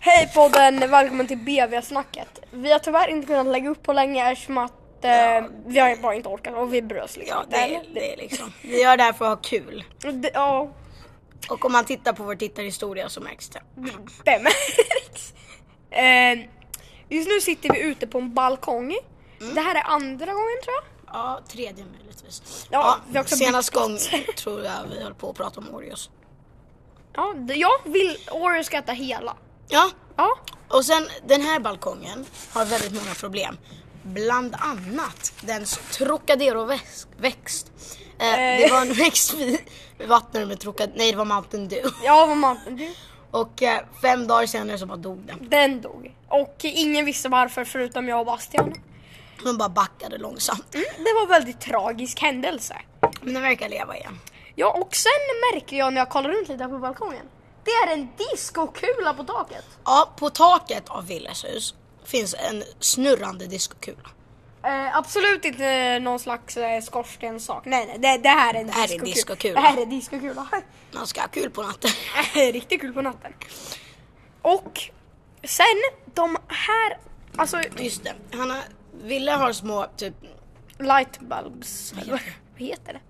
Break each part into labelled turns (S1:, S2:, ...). S1: Hej podden, välkommen till BV-snacket. Vi har tyvärr inte kunnat lägga upp på länge eftersom att eh, vi har bara inte orkat och vi bryr oss liksom.
S2: Ja, det, är- det är liksom. Vi gör det här för att ha kul.
S1: Det- det- Ja,
S2: Och om man tittar på vår tittarhistoria så märks det.
S1: det märks. Eh, just nu sitter vi ute på en balkong.
S2: Mm.
S1: Det här är andra gången tror jag.
S2: Ja, tredje möjligtvis.
S1: Ja, vi har också
S2: senast
S1: bytt
S2: gång tror jag vi höll på att prata om Oreos.
S1: Ja, det- jag vill Oreo ska äta hela.
S2: Ja,
S1: Ja,
S2: och sen den här balkongen har väldigt många problem. Bland annat dens Trocadero-växt. Eh, det
S1: Eh.
S2: var en växt vi vi vattnade med Trocadero, nej det var Mountain Dew.
S1: ja vad man, du,
S2: Och eh, fem dagar senare så bara dog den.
S1: den dog. Och ingen visste varför förutom jag och Bastian.
S2: Mm. Den bara backade långsamt.
S1: Mm, det var en väldigt tragisk händelse.
S2: Men den verkar leva igen.
S1: Ja, och sen märker jag när jag kollar runt lite på balkongen. Det är en diskokula på taket.
S2: Ja, på taket av Willes hus finns en snurrande diskokula.
S1: Eh, absolut inte eh, någon slags eh, skorstenssak. Nej, nej, det, det här är en
S2: här är en diskokula.
S1: Det här är en diskokula.
S2: Man ska ha kul på natten.
S1: Riktigt kul på natten. Och sen de här, alltså
S2: Just det, han har, Wille har små typ
S1: light bulbs. Vad heter det?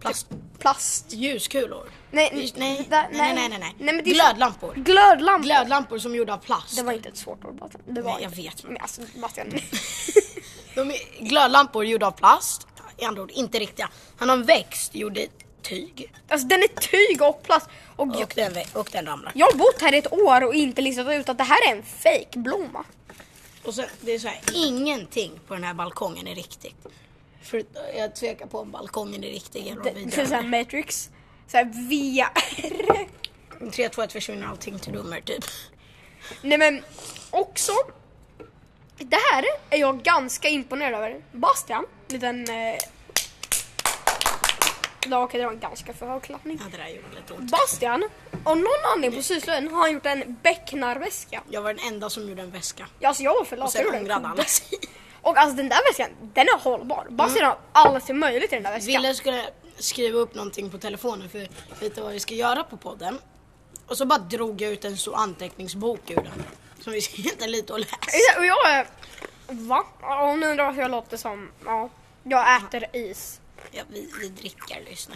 S2: plast,
S1: Plast.
S2: ljuskulor.
S1: Nej,
S2: Just, nej,
S1: där-
S2: nej, nej, nej, nej, nej.
S1: Mm. men det är så-
S2: Glödlampor.
S1: Glödlampor.
S2: Glödlampor som är gjorda av plast.
S1: Det var inte ett svårt ord. Bastian. Det var
S2: Nej, jag
S1: inte.
S2: vet, men-
S1: Men alltså, Bastian.
S2: De är glödlampor gjorda av plast. I andra ord, inte riktiga. Han har en växt gjord i tyg.
S1: alltså den är tyg och plast. Och jag
S2: Och den, vä- och den ramlar.
S1: Jag har bott här i ett år och inte listat ut att det här är en fejkblomma.
S2: Och sen, det är så här, ingenting på den här balkongen är riktigt. För eh, jag tvekar på om balkongen är riktig eller
S1: Det,
S2: om vi
S1: det är
S2: drömmer.
S1: såhär Matrix, såhär VR.
S2: Om 3, 2, 1 försvinner allting till nummer typ.
S1: Nej men också, det här är jag ganska imponerad över. Bastian, liten... Eh, ja, okej, det var en ganska för hög klappning.
S2: Ja, det där gjorde lite ont.
S1: Bastian, av någon anledning på syslöjden har han gjort en becknarväska.
S2: Jag var den enda som gjorde en väska.
S1: Ja, Alltså jag var för lat.
S2: Och sen
S1: jag gjorde en
S2: ångrade alla
S1: kudde.
S2: sig.
S1: Och alltså den där väskan, den är hållbar. Bastian har allt som är möjligt i den där väskan.
S2: Ville skulle skriva upp någonting på telefonen för att veta vad vi ska göra på podden. Och så bara drog jag ut en stor anteckningsbok ur den. Som vi ska hitta lite och läsa.
S1: Ja, Och jag är... Va? Ja, Om ni undrar hur jag låter som... Ja, jag äter is.
S2: Ja, vi, vi dricker, lyssna.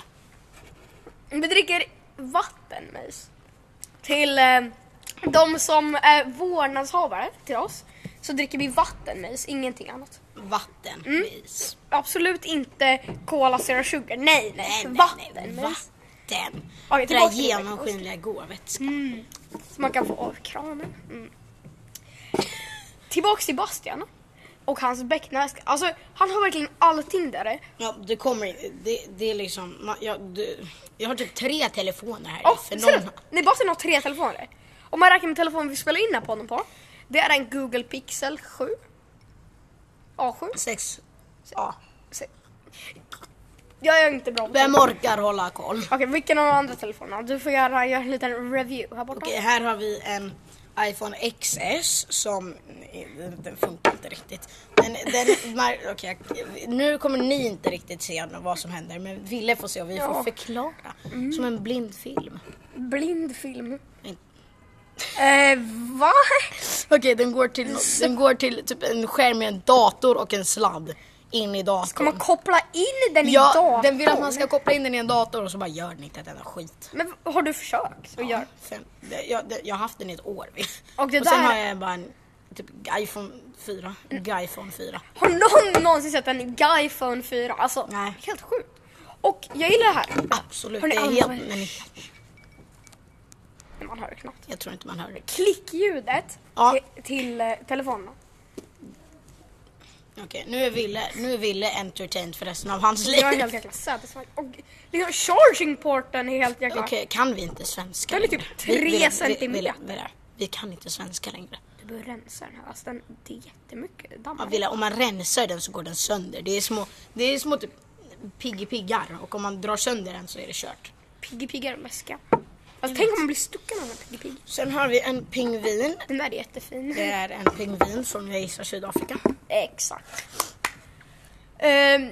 S1: Vi dricker vatten med is. Till eh, de som är vårdnadshavare till oss så dricker vi vatten med is, ingenting annat.
S2: Vatten
S1: Mm.
S2: med is.
S1: Absolut inte Cola Zero Sugar, nej nej.
S2: Nej, nej,
S1: vatten
S2: nej.
S1: med is.
S2: Vatten.
S1: Okej,
S2: det där
S1: tillbaka till väskan.
S2: genomskinliga gåvätskan.
S1: Mm. Så man kan få av kranen. Mm. Tillbaks till Bastian och hans becknarväska. Alltså han har verkligen allting där.
S2: Ja, det kommer det, det är liksom, man, jag, du, jag har typ tre telefoner här.
S1: Ja,
S2: för
S1: ser du?
S2: någon,
S1: Nej, Bastian har tre telefoner. Om man räknar med telefonen vi spelar in den här podden på. Det är en Google Pixel 7. A7.
S2: sex, ja.
S1: Se- Jag är inte bra på
S2: Vem
S1: telefoner.
S2: orkar hålla koll?
S1: Okej, vilken av de andra telefonerna? Du får göra, göra en liten review här borta.
S2: Okej, här har vi en iPhone XS som eh, den- den funkar inte riktigt. Den, den, mar, okej, nu kommer ni inte riktigt se vad som händer men Ville får se och vi
S1: Ja. Mm.
S2: får förklara. Som en blind film.
S1: Blind film.
S2: Nej.
S1: Eh, va?
S2: Okej, den, går till,
S1: Mm.
S2: den går till typ en skärm med en dator och en sladd in i datorn.
S1: Ska man koppla in den i
S2: ja,
S1: datorn?
S2: den vill att man ska koppla in den i en dator och så bara gör den inte ett enda skit.
S1: Men har du försökt? att göra?
S2: Sen, det- jag, det- jag har haft den i ett år.
S1: Och det
S2: sen
S1: där- Mm.
S2: har jag bara en typ, iPhone 4. iPhone 4.
S1: Har någon någonsin sett en Guyphone 4? Alltså,
S2: Nej.
S1: helt sjukt. Och jag gillar det här.
S2: Absolut,
S1: Ah, Hörni,
S2: det är
S1: alla-
S2: helt, men
S1: Man hör knappt.
S2: jag tror inte man hör det.
S1: klickljudet
S2: Ja.
S1: till, till eh, telefonen.
S2: Okej, nu är Ville, nu är Ville entertained för resten av hans liv.
S1: Det var helt jäkla satisfying. Och liksom chargingporten är helt jäkla...
S2: Okej, kan vi inte svenska
S1: Den är typ
S2: längre?
S1: tre
S2: Vi- Ville- Ville-
S1: centimeter.
S2: Ville- Ville, vi kan inte svenska längre.
S1: Du behöver rensa den här. Alltså den, det är jättemycket
S2: Ja,
S1: damm.
S2: Ville, om man rensar den så går den sönder. Det är små, det är små typ piggy piggar och om man drar sönder den så är det kört.
S1: Piggy Pigg är den bästa. Alltså, tänk om man blir stucken av en Piggy Pigg.
S2: Sen har vi en pingvin.
S1: Den där är jättefin.
S2: Det är en pingvin från jag gissar Sydafrika.
S1: Exakt. Ehm,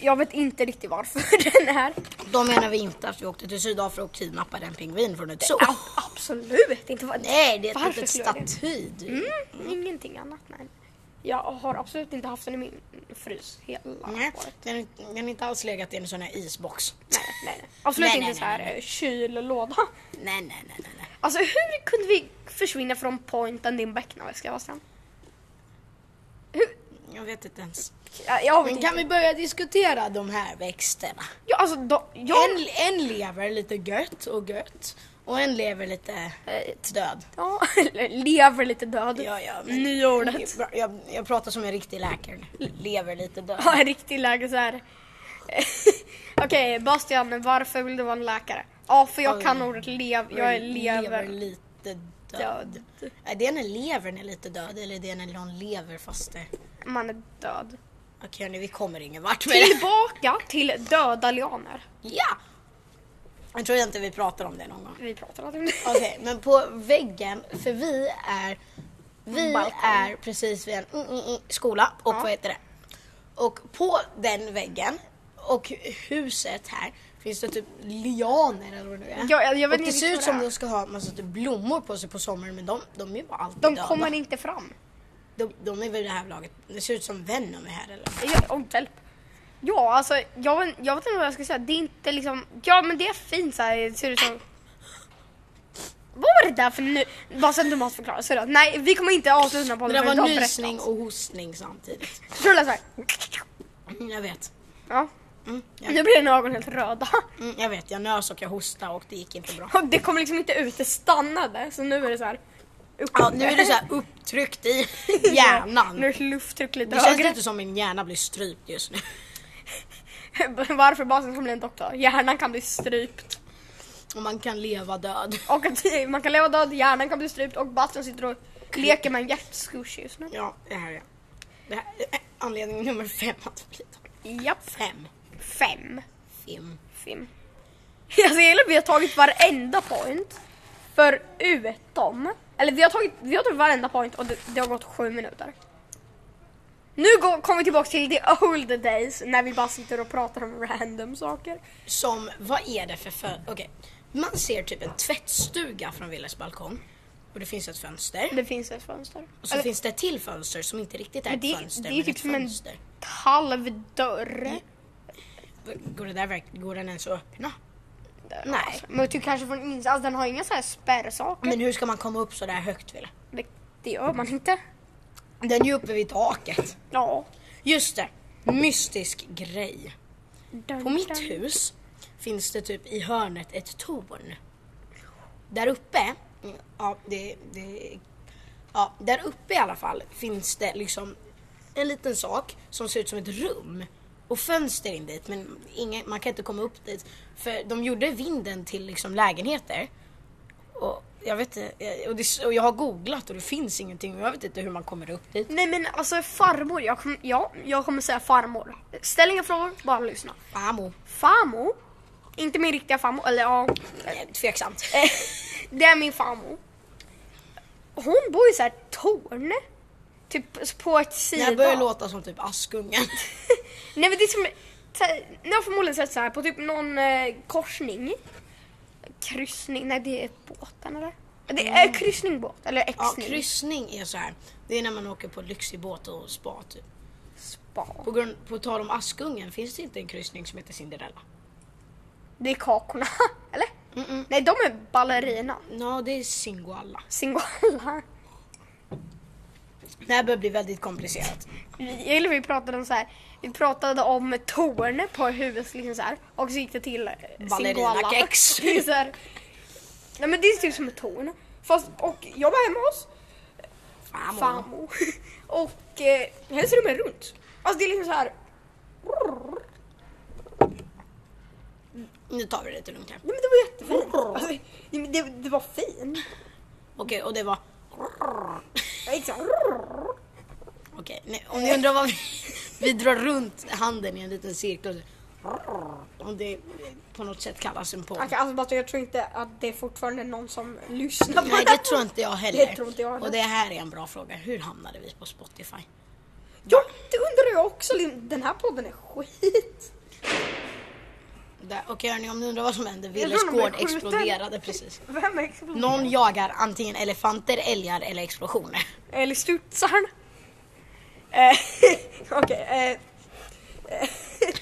S1: Jag vet inte riktigt varför den är.
S2: Då menar vi inte att vi åkte till Sydafrika och kidnappade en pingvin från ett zoo.
S1: Ja, absolut inte. Vad-
S2: Oh. Nej, det är ett
S1: Varför
S2: litet
S1: skulle jag det?
S2: staty.
S1: Mm, ingenting annat. Nej. Jag har absolut inte haft den i min frys hela
S2: Nej,
S1: året.
S2: den, har- den har inte alls legat i en sån här isbox.
S1: Nej, nej, nej. Absolut
S2: Nej,
S1: inte
S2: nej,
S1: så här
S2: nej,
S1: eh, kyllåda.
S2: Nej, nej, nej, nej. nej.
S1: Alltså hur kunde vi försvinna från pointen din becknarväska var sen?
S2: Jag vet inte ens.
S1: Ja, jag vet
S2: Men Mm, kan
S1: inte.
S2: vi börja diskutera de här växterna?
S1: Ja, alltså, då, jag...
S2: En, en lever lite gött och gött och en lever lite
S1: Eh,
S2: död.
S1: Ja, eller lever lite död.
S2: Ja, ja, men- Mm.
S1: Nyordet.
S2: Jag, jag, jag pratar som en riktig läkare nu. Lever lite död.
S1: Ja, en riktig läge så här. Okej, Bastian, varför vill du vara en läkare? Ja, för jag kan
S2: Oj.
S1: ordet lev. Jag är lever
S2: lite död.
S1: död.
S2: Är det när levern är lite död eller är det när någon lever fast det...
S1: Man är död.
S2: Okej hörni, vi kommer ingen vart med det.
S1: Tillbaka till döda lianer.
S2: Ja! Jag tror inte vi pratar om det någon gång.
S1: Vi pratar om det.
S2: Okej, men på väggen, för vi är, vi
S1: Balkong.
S2: är precis vid en mm, mm, mm, skola och vad heter det? Och på den väggen och huset här finns det typ lianer eller vad det nu är.
S1: Ja, jag- jag vet
S2: och det
S1: inte
S2: ser
S1: riktigt
S2: ut
S1: vad
S2: som
S1: det är.
S2: de ska ha massa typ blommor på sig på sommaren men de, de är ju bara alltid
S1: De
S2: döda.
S1: kommer inte fram.
S2: de, de är väl det här laget, det ser ut som Venom är här eller?
S1: Ja, Åh, hjälp. Ja, alltså jag, vet- jag vet inte vad jag ska säga. Det är inte liksom... Ja, men det är fint så här. Det ser ut som... Vad var det där för nu? Bara sen du måste förklara. Så då, nej, vi kommer inte avsluta på
S2: Men
S1: det.
S2: det
S1: för
S2: var
S1: de
S2: nysning och hostning samtidigt.
S1: berättar. Tror du det är så här?
S2: Mm, jag vet.
S1: Ja.
S2: Mm, jag,
S1: Nu blir dina ögon helt röda.
S2: mm, jag vet, jag nös och jag hostade och det gick inte bra.
S1: Och det kom liksom inte ut, det stannade. Så nu är det så här. Upp.
S2: Ja, nu är det så här upptryckt i hjärnan.
S1: Nu är det lufttryck lite
S2: Det känns
S1: högre.
S2: lite som min hjärna blir strypt just nu.
S1: Varför basen ska bli en doktor? Hjärnan kan bli strypt.
S2: Och man kan leva död.
S1: Och att man kan leva död, hjärnan kan bli strypt och Bastian sitter och leker med en hjärtskush just nu.
S2: Ja, det här är det här är anledning nummer fem att bli död.
S1: Japp.
S2: Fem.
S1: Fem.
S2: Fem.
S1: Fem. Alltså jag gillar att vi har tagit varenda point. Förutom... Eller vi har tagit, vi har tagit varenda point och det, det har gått sju minuter. Nu går- kommer vi tillbaka till the old days när vi bara sitter och pratar om random saker.
S2: Som, vad är det för fönster? Okej, man ser typ en tvättstuga från Willes balkong. Och det finns ett fönster.
S1: Det finns ett fönster.
S2: Och så
S1: Eller,
S2: finns det ett till fönster som inte riktigt är
S1: men
S2: ett
S1: det,
S2: fönster,
S1: det är
S2: men
S1: typ
S2: ett
S1: som en
S2: fönster.
S1: halv dörr.
S2: Går, det där, verk- går den ens att öppna?
S1: Nej.
S2: Nej.
S1: Men typ kanske från insidan, alltså, den har inga så här spärrsaker.
S2: Men hur ska man komma upp så där högt, Wille?
S1: Det, det gör man inte.
S2: Den är ju uppe vid taket.
S1: Ja.
S2: Just det, mystisk grej.
S1: Dun,
S2: På mitt
S1: dun.
S2: hus finns det typ i hörnet ett torn. Där uppe, ja det, det ja, där uppe i alla fall finns det liksom en liten sak som ser ut som ett rum och fönster in dit men ingen, man kan inte komma upp dit för de gjorde vinden till liksom lägenheter och jag vet inte, eh, och, det, och jag har googlat och det finns ingenting och jag vet inte hur man kommer upp dit.
S1: Nej men alltså farmor, jag, kom, ja, jag kommer säga farmor. Ställ inga frågor, bara lyssna.
S2: Famo,
S1: Farmor, inte min riktiga farmor, eller ja,
S2: Eh, tveksamt.
S1: eh, det är min farmor. Hon bor i så här torn, typ på ett
S2: Det
S1: sida.
S2: här börjar låta som typ Askungen.
S1: Nej men det är som, så här, ni har förmodligen sett så här på typ någon eh, korsning. Kryssning, nej det är båten eller? Det är kryssning båt, eller
S2: Mm. Ja,
S1: X-ning.
S2: kryssning är så här. Det är när man åker på lyxig båt och spa typ.
S1: Spa.
S2: På, grund, på tal om Askungen finns det inte en kryssning som heter Cinderella.
S1: Det är kakorna, eller?
S2: Mm-mm.
S1: Nej de är ballerina.
S2: Ja, det är Singoalla.
S1: Singoalla.
S2: Det här börjar bli väldigt komplicerat.
S1: Vi, eller vi pratade om så här. Vi pratade om torn på huvudet liksom så här, och så gick det till eh,
S2: Ballerinakex.
S1: Det är så här. Nej men det är typ som ett torn. Fast, och jag var hemma hos
S2: Fan, Fan.
S1: farmor och eh, hennes rum är runt. Alltså det är liksom så här.
S2: Nu tar vi det lite lugnt här.
S1: Nej men det var jättefint. Alltså, det- nej, men det, det var fint.
S2: Okej, och det var...
S1: Jag gick så här.
S2: Okej, nej, om ni undrar vad vi... Vi drar runt handen i en liten cirkel. Om det på något sätt kallas en podd.
S1: Okej, alltså bara, jag tror inte att det är fortfarande någon som lyssnar på
S2: Nej,
S1: det.
S2: det tror inte jag heller.
S1: Det tror inte jag heller.
S2: Och det här är en bra fråga. Hur hamnade vi på Spotify?
S1: Ja, det undrar jag också. Lin- Den här podden är skit.
S2: Där. Okej hörni, om ni undrar vad som hände.
S1: tror
S2: Willys
S1: de blev
S2: gård
S1: skjuten.
S2: exploderade precis.
S1: Vem exploderar?
S2: Någon jagar antingen elefanter, älgar eller explosioner.
S1: Eller studsaren. Eh, Okej. eh,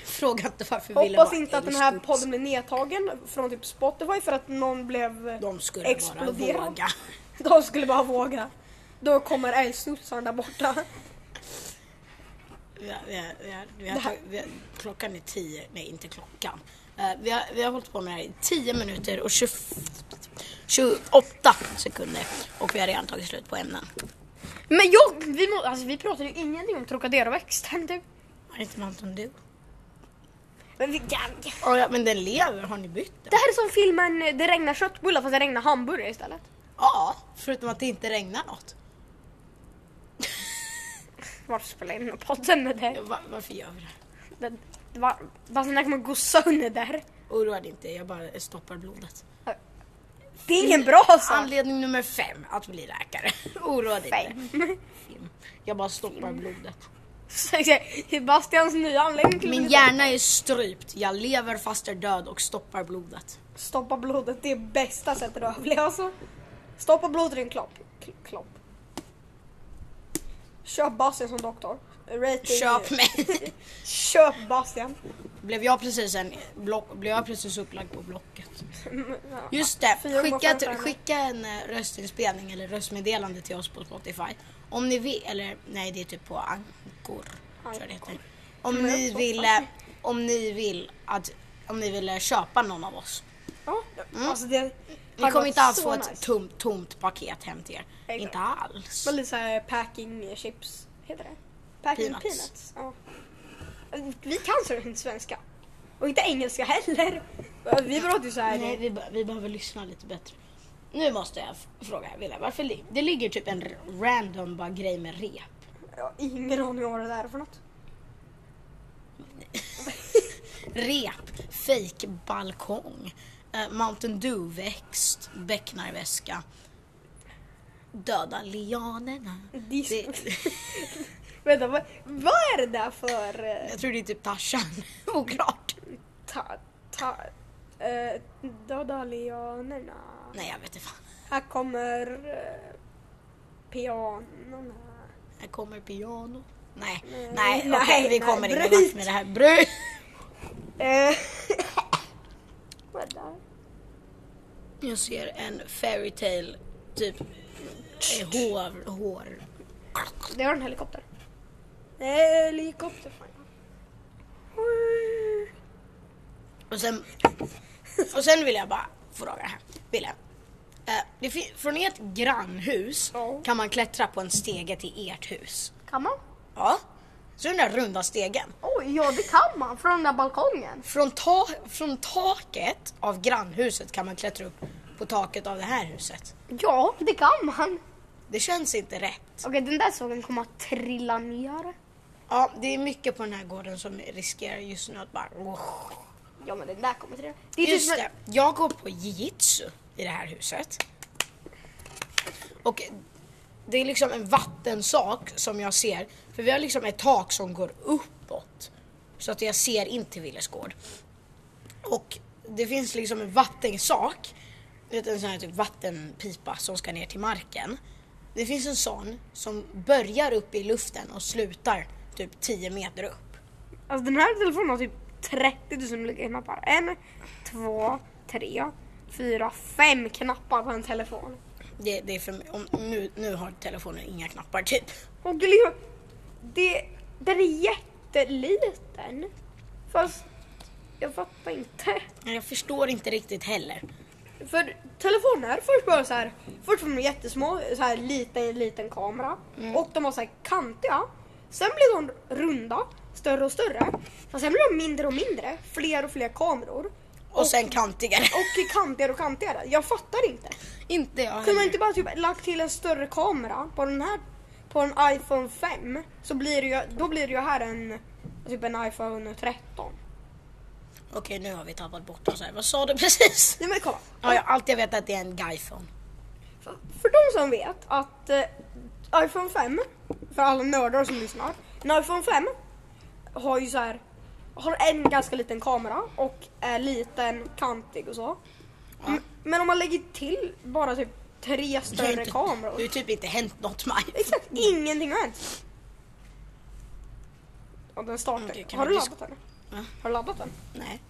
S2: Fråga inte varför Wille
S1: hoppas
S2: var
S1: inte att den här
S2: älgstuds.
S1: podden blir nedtagen från typ Spotify för att någon blev...
S2: De skulle
S1: exploderad.
S2: bara våga.
S1: De skulle bara våga. Då kommer älgstudsaren där borta.
S2: Vi har, vi har, vi har, vi
S1: Det
S2: har,
S1: här-
S2: tagit- vi har, klockan är tio, nej inte klockan. Eh, vi, har, vi har hållit på med det här i 10 minuter och 20, 28 sekunder och vi har redan tagit slut på ämnen.
S1: Men jag, vi, må, alltså, vi pratade ju ingenting om Trocadero-växten typ.
S2: Har inte Mountain Dew?
S1: Men vi, ja, ja.
S2: Oh, ja, men den lever, har ni bytt
S1: Det
S2: den?
S1: här är som filmen eh, Det regnar köttbullar fast det regnar hamburgare istället.
S2: Ja, förutom att det inte regnar något.
S1: Varför spelar jag in den här podden med det?
S2: Va, varför gör vi det?
S1: det, det var, fast den här kommer gå sönder där.
S2: Oroa dig inte, jag bara stoppar blodet.
S1: Det är ingen bra sak.
S2: Anledning nummer fem, att bli läkare. Oroa dig inte.
S1: Fem.
S2: Film. Jag bara stoppar blodet.
S1: Så jag säger, Sebastians nya anläggning till
S2: Min hjärna är strypt, jag lever fast är död och stoppar blodet.
S1: Stoppa blodet, det är bästa sättet att överleva alltså. Stoppa blodet i en klopp. Kl- klopp. Köp Bastian som doktor. Rating-
S2: Köp mig!
S1: Köp Bastian.
S2: blev, jag precis en block, blev jag precis upplagd på Blocket?
S1: Ja.
S2: Just det,
S1: Fyra
S2: skicka,
S1: gånger
S2: ett,
S1: fem.
S2: skicka en eh, röstinspelning eller röstmeddelande till oss på Spotify. Om ni vill, eller nej det är typ på Ankor. tror jag det heter. Om
S1: Men Mm, jag
S2: ni
S1: tror
S2: vill,
S1: fan.
S2: eh, om ni vill att, om ni vill eh, köpa någon av oss.
S1: Ja,
S2: Mm.
S1: alltså det
S2: Ni
S1: hade
S2: kommer
S1: varit
S2: inte alls
S1: så
S2: få ett
S1: nice.
S2: tomt, tomt paket hem till er.
S1: Exakt.
S2: Inte alls.
S1: Men lite såhär packing chips, heter det? Packing peanuts.
S2: Peanuts.
S1: Ja. Vi kan så inte svenska. Och inte engelska heller. Vi pratar ju såhär...
S2: Nej, vi, be- vi behöver lyssna lite bättre. Nu måste jag f- fråga Villa, varför li- det ligger typ en r- random bara grej med rep.
S1: Jag har ingen aning om vad det där är för något.
S2: Rep, fake balkong, eh, Mountain Dew-växt, becknarväska, döda lianerna.
S1: Dis-
S2: Det,
S1: Vänta, vad, vad är det där för... eh,
S2: jag tror det är typ Tarzan, oklart.
S1: Ta, ta, eh, döda leonerna.
S2: Nej, jag vet inte fan.
S1: Här kommer eh, pianorna.
S2: Här kommer piano. Nej,
S1: Nej,
S2: nej, okej,
S1: nej,
S2: vi kommer
S1: nej,
S2: ingen
S1: bryt.
S2: vart med det här. Bryt!
S1: Eh, vad är det där?
S2: Jag ser en fairy tale typ eh, hår, hår.
S1: Det var en helikopter. Helikopter. fan.
S2: Och sen, och sen vill jag bara fråga här. Ville, eh, det fin- från ert grannhus
S1: Ja.
S2: kan man klättra på en stege till ert hus.
S1: Kan man?
S2: Ja. Så den där runda stegen.
S1: Oj, ja det kan man. Från den där balkongen.
S2: Från, ta- från taket av grannhuset kan man klättra upp på taket av det här huset.
S1: Ja, det kan man.
S2: Det känns inte rätt.
S1: Okej, den där sågen kommer att trilla ner.
S2: Ja, det är mycket på den här gården som riskerar just nu att bara...
S1: Ja, men den där kommer trilla. Det är typ
S2: Just
S1: som-
S2: det, typ jag går på jitsu i det här huset. Och det är liksom en vattensak som jag ser, för vi har liksom ett tak som går uppåt. Så att jag ser in till Willes gård. Och det finns liksom en vattensak, du vet en sån här typ vattenpipa som ska ner till marken. Det finns en sån som börjar upp i luften och slutar typ 10 meter upp.
S1: Alltså den här telefonen har typ 30 000 olika knappar. En, två, tre, fyra, fem knappar på en telefon.
S2: Det, det är för, om, nu, nu har telefonen inga knappar typ.
S1: Och liksom, det, den är jätteliten. Fast jag fattar inte.
S2: Men Jag förstår inte riktigt heller.
S1: För telefoner, först var de så här, först var de jättesmå, så här liten, liten kamera. Och de var så här kantiga. Sen blev de runda, större och större. Och sen blev de mindre och mindre, fler och fler kameror.
S2: Och, sen kantigare.
S1: Och kantigare och kantigare. Jag fattar inte.
S2: inte jag
S1: Kunde man
S2: heller.
S1: inte bara typ lagt till en större kamera på den här på en iPhone 5 så blir det ju, då blir det ju här en typ en iPhone 13.
S2: Okej, nu har vi tappat bort oss här. Vad sa du precis?
S1: Nej men kolla.
S2: Ja, jag, allt jag vet är att det är en guyphone.
S1: För de som vet att eh, iPhone 5 för alla nördar som lyssnar En iPhone 5 har ju så här har en ganska liten kamera och är liten, kantig och så. M- Men om man lägger till bara typ tre
S2: Det har
S1: större
S2: ju inte- Det har ju
S1: kameror.
S2: typ inte hänt något med iPhone.
S1: Exakt, ingenting har hänt. Och den startar.
S2: Okej, kan
S1: har
S2: vi
S1: du
S2: disk-
S1: laddat den?
S2: Va?
S1: Har du laddat den?
S2: Nej.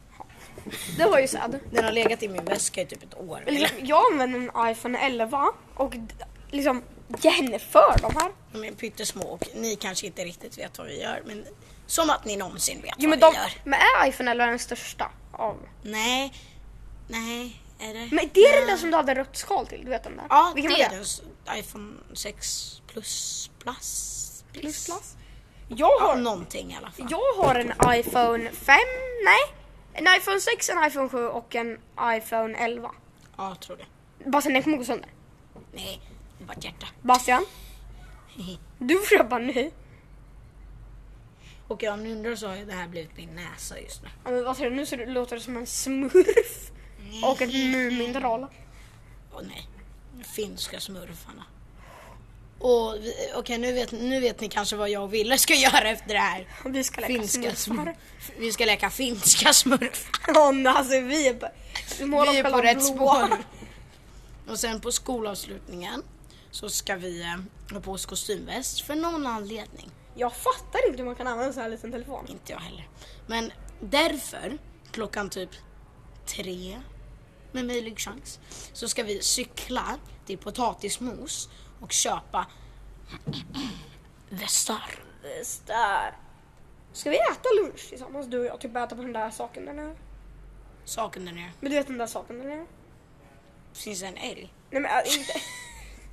S1: Det var ju sad.
S2: Den har legat i min väska i typ ett år.
S1: Men Liksom, jag använder en iPhone 11 och d- liksom jämför de här.
S2: De är pyttesmå och ni kanske inte riktigt vet vad vi gör. Men som att ni någonsin vet
S1: Jo,
S2: vad
S1: men, de,
S2: vi gör.
S1: men är iPhone 11 den största av?
S2: Nej. Nej. Är det?
S1: Men det är den där som du hade rött skal till, du vet den där?
S2: Ja,
S1: Vilken
S2: det
S1: var
S2: är den. s- iPhone 6 plus plus.
S1: Plus, plus. Jag
S2: Ja,
S1: har,
S2: någonting i alla fall.
S1: jag har en iPhone 5, nej. En iPhone 6, en iPhone 7 och en iPhone 11.
S2: Ja, jag tror det.
S1: Bastian, den kommer gå sönder.
S2: Nej, det var ett hjärta.
S1: Bastian,
S2: Mm.
S1: du får köpa en ny.
S2: Och om ni undrar så har ju det här blivit min näsa just nu.
S1: Ja, Men Bastian, nu ser du, låter du som en smurf. Och ett Mumintroll.
S2: Åh nej. Finska smurfarna. Och vi- okej, nu, vet, nu vet ni kanske vad jag och Wille ska göra efter det här.
S1: Och Vi ska leka
S2: Finska
S1: smurfar.
S2: smurfar. Vi ska leka finska smurfar.
S1: Ja, men alltså vi är på, målar
S2: Vi är på
S1: själva
S2: rätt
S1: blåa.
S2: spår. Och sen på skolavslutningen så ska vi eh, ha på oss kostymväst för någon anledning.
S1: Jag fattar inte hur man kan använda en sån här liten telefon.
S2: Inte jag heller. Men därför, klockan typ tre, med möjlig chans, så ska vi cykla till potatismos och köpa västar.
S1: Där. Ska vi äta lunch tillsammans du och jag? Typ äta på den där saken där nere.
S2: Saken där nere.
S1: Men du vet den där saken där nere?
S2: Finns det en älg?
S1: Nej men äh, inte.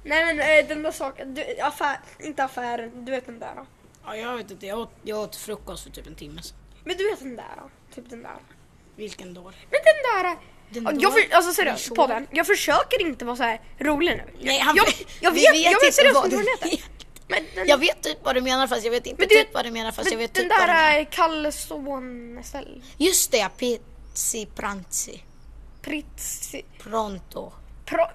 S1: Nej men äh, den där saken, du, affär, inte affären, du vet den där. Då.
S2: Ja, jag vet inte. Jag åt, jag åt frukost för typ en timme sedan.
S1: Men du vet den där, då. typ den där.
S2: Vilken dag?
S1: Men den där.
S2: Den
S1: Ja,
S2: där-
S1: jag för, alltså
S2: den
S1: seriöst,
S2: så-
S1: podden. Jag försöker inte vara så här rolig nu.
S2: Nej, han-
S1: jag, jag
S2: vi
S1: vet,
S2: vet
S1: jag vet
S2: inte
S1: seriöst
S2: vad
S1: inte vad
S2: du
S1: den heter. Men den,
S2: Jag vet typ vad du menar fast jag vet inte
S1: Men du-
S2: typ vad du menar fast jag
S1: men
S2: vet
S1: den
S2: typ vad du menar.
S1: där äh, Kalle Sonestell.
S2: Just det, pizzi pranzi.
S1: Pritsi.
S2: Pronto.
S1: Pro,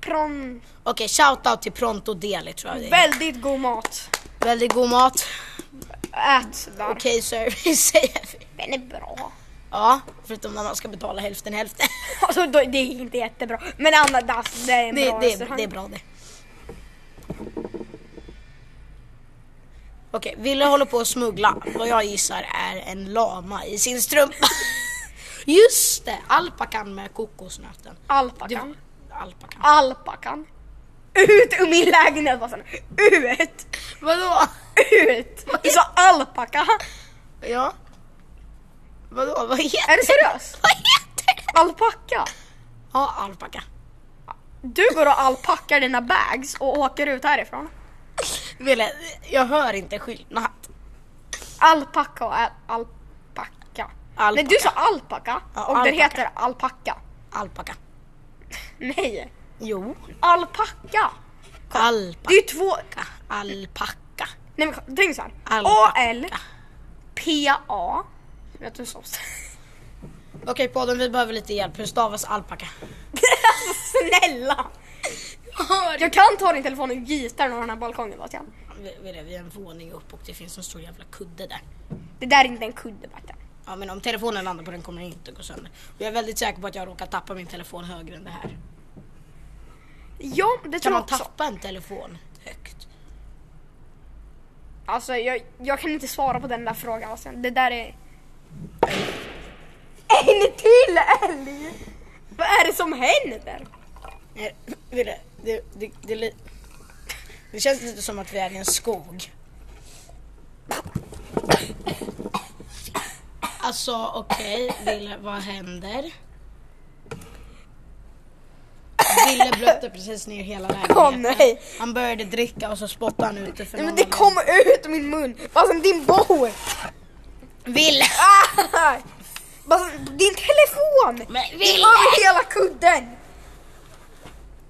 S1: pron.
S2: Okej, shoutout till Pronto Deli tror jag det är.
S1: Väldigt god mat.
S2: Väldigt god mat.
S1: Ät där.
S2: Okej service säger vi.
S1: Den är bra.
S2: Ja, förutom när man ska betala hälften hälften.
S1: Alltså då, det är inte jättebra. Men annars, det är en
S2: Det,
S1: bra
S2: det,
S1: restaurang.
S2: det är bra det. Okej, Ville håller på att smuggla vad jag gissar är en lama i sin strumpa. Just det, alpakan med kokosnöten.
S1: Alpakan.
S2: Du- alpakan.
S1: Alpakan. Ut ur min lägenhet Bassan. Ut!
S2: Vadå?
S1: Ut! Du sa alpaka.
S2: Ja. Vadå, vad heter
S1: Är du seriös?
S2: Vad heter det?
S1: Alpaka.
S2: Ja, alpaka.
S1: Du går och alpackar dina bags och åker ut härifrån.
S2: Ville, jag hör inte skillnad.
S1: Alpaka och al- alpaka.
S2: Alpaka.
S1: Nej, du sa alpaka
S2: Ja,
S1: och den
S2: alpaka.
S1: heter alpaka.
S2: Alpaka.
S1: Nej,
S2: Jo.
S1: alpaka. Det
S2: Alpaka.
S1: är ju två...
S2: Alpaka.
S1: Nej men tänk så här.
S2: Alpaka.
S1: A-L-P-A. Vet du så?
S2: Okej podden, vi behöver lite hjälp. Hur stavas alpaka?
S1: Snälla! Jag kan ta din telefon och gita den över den här balkongen Bastian.
S2: Vi, vi är- vi är en våning upp och det finns en stor jävla kudde där.
S1: Det där är inte en kudde Bastian.
S2: Ja men om telefonen landar på den kommer den inte gå sönder. Och jag är väldigt säker på att jag råkar tappa min telefon högre än det här.
S1: Ja, det
S2: Kan
S1: tror jag
S2: man
S1: också.
S2: tappa en telefon högt?
S1: Alltså jag, jag kan inte svara på den där frågan Bastian. Det där är... En till älg! Vad är det som händer?
S2: Nej, Eh, Ville, det, det, det, li- det känns lite som att vi är i en skog. Alltså okej, Ville, vad händer? Ville blötte precis ner hela lägenheten.
S1: Åh, nej.
S2: Han började dricka och så spottade han ut det för
S1: Nej, men
S2: någon
S1: det kom ut ur min mun! Bastian din bord!
S2: anledning. Ville!
S1: Ah! Bastian, din telefon!
S2: Men
S1: Det
S2: Ville!
S1: var hela kudden!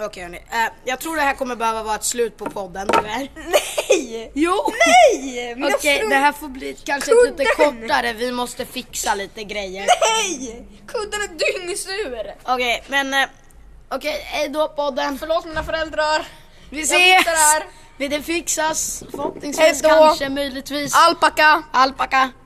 S2: Okej hörni, eh, jag tror det här kommer behöva vara ett slut på podden tyvärr.
S1: Nej!
S2: Jo!
S1: Nej! Mina
S2: Okej,
S1: strumpor!
S2: det här får bli kanske lite
S1: Kudden!
S2: kortare, vi måste fixa lite grejer.
S1: Nej! Kudden är dyngsur!
S2: Okej, men... eh, Okej, hejdå podden.
S1: Förlåt mina föräldrar.
S2: Vi
S1: Jag
S2: ses!
S1: fixar det här.
S2: Det fixas förhoppningsvis,
S1: Hejdå.
S2: kanske, möjligtvis. Ah.
S1: Alpaka!
S2: Alpaka.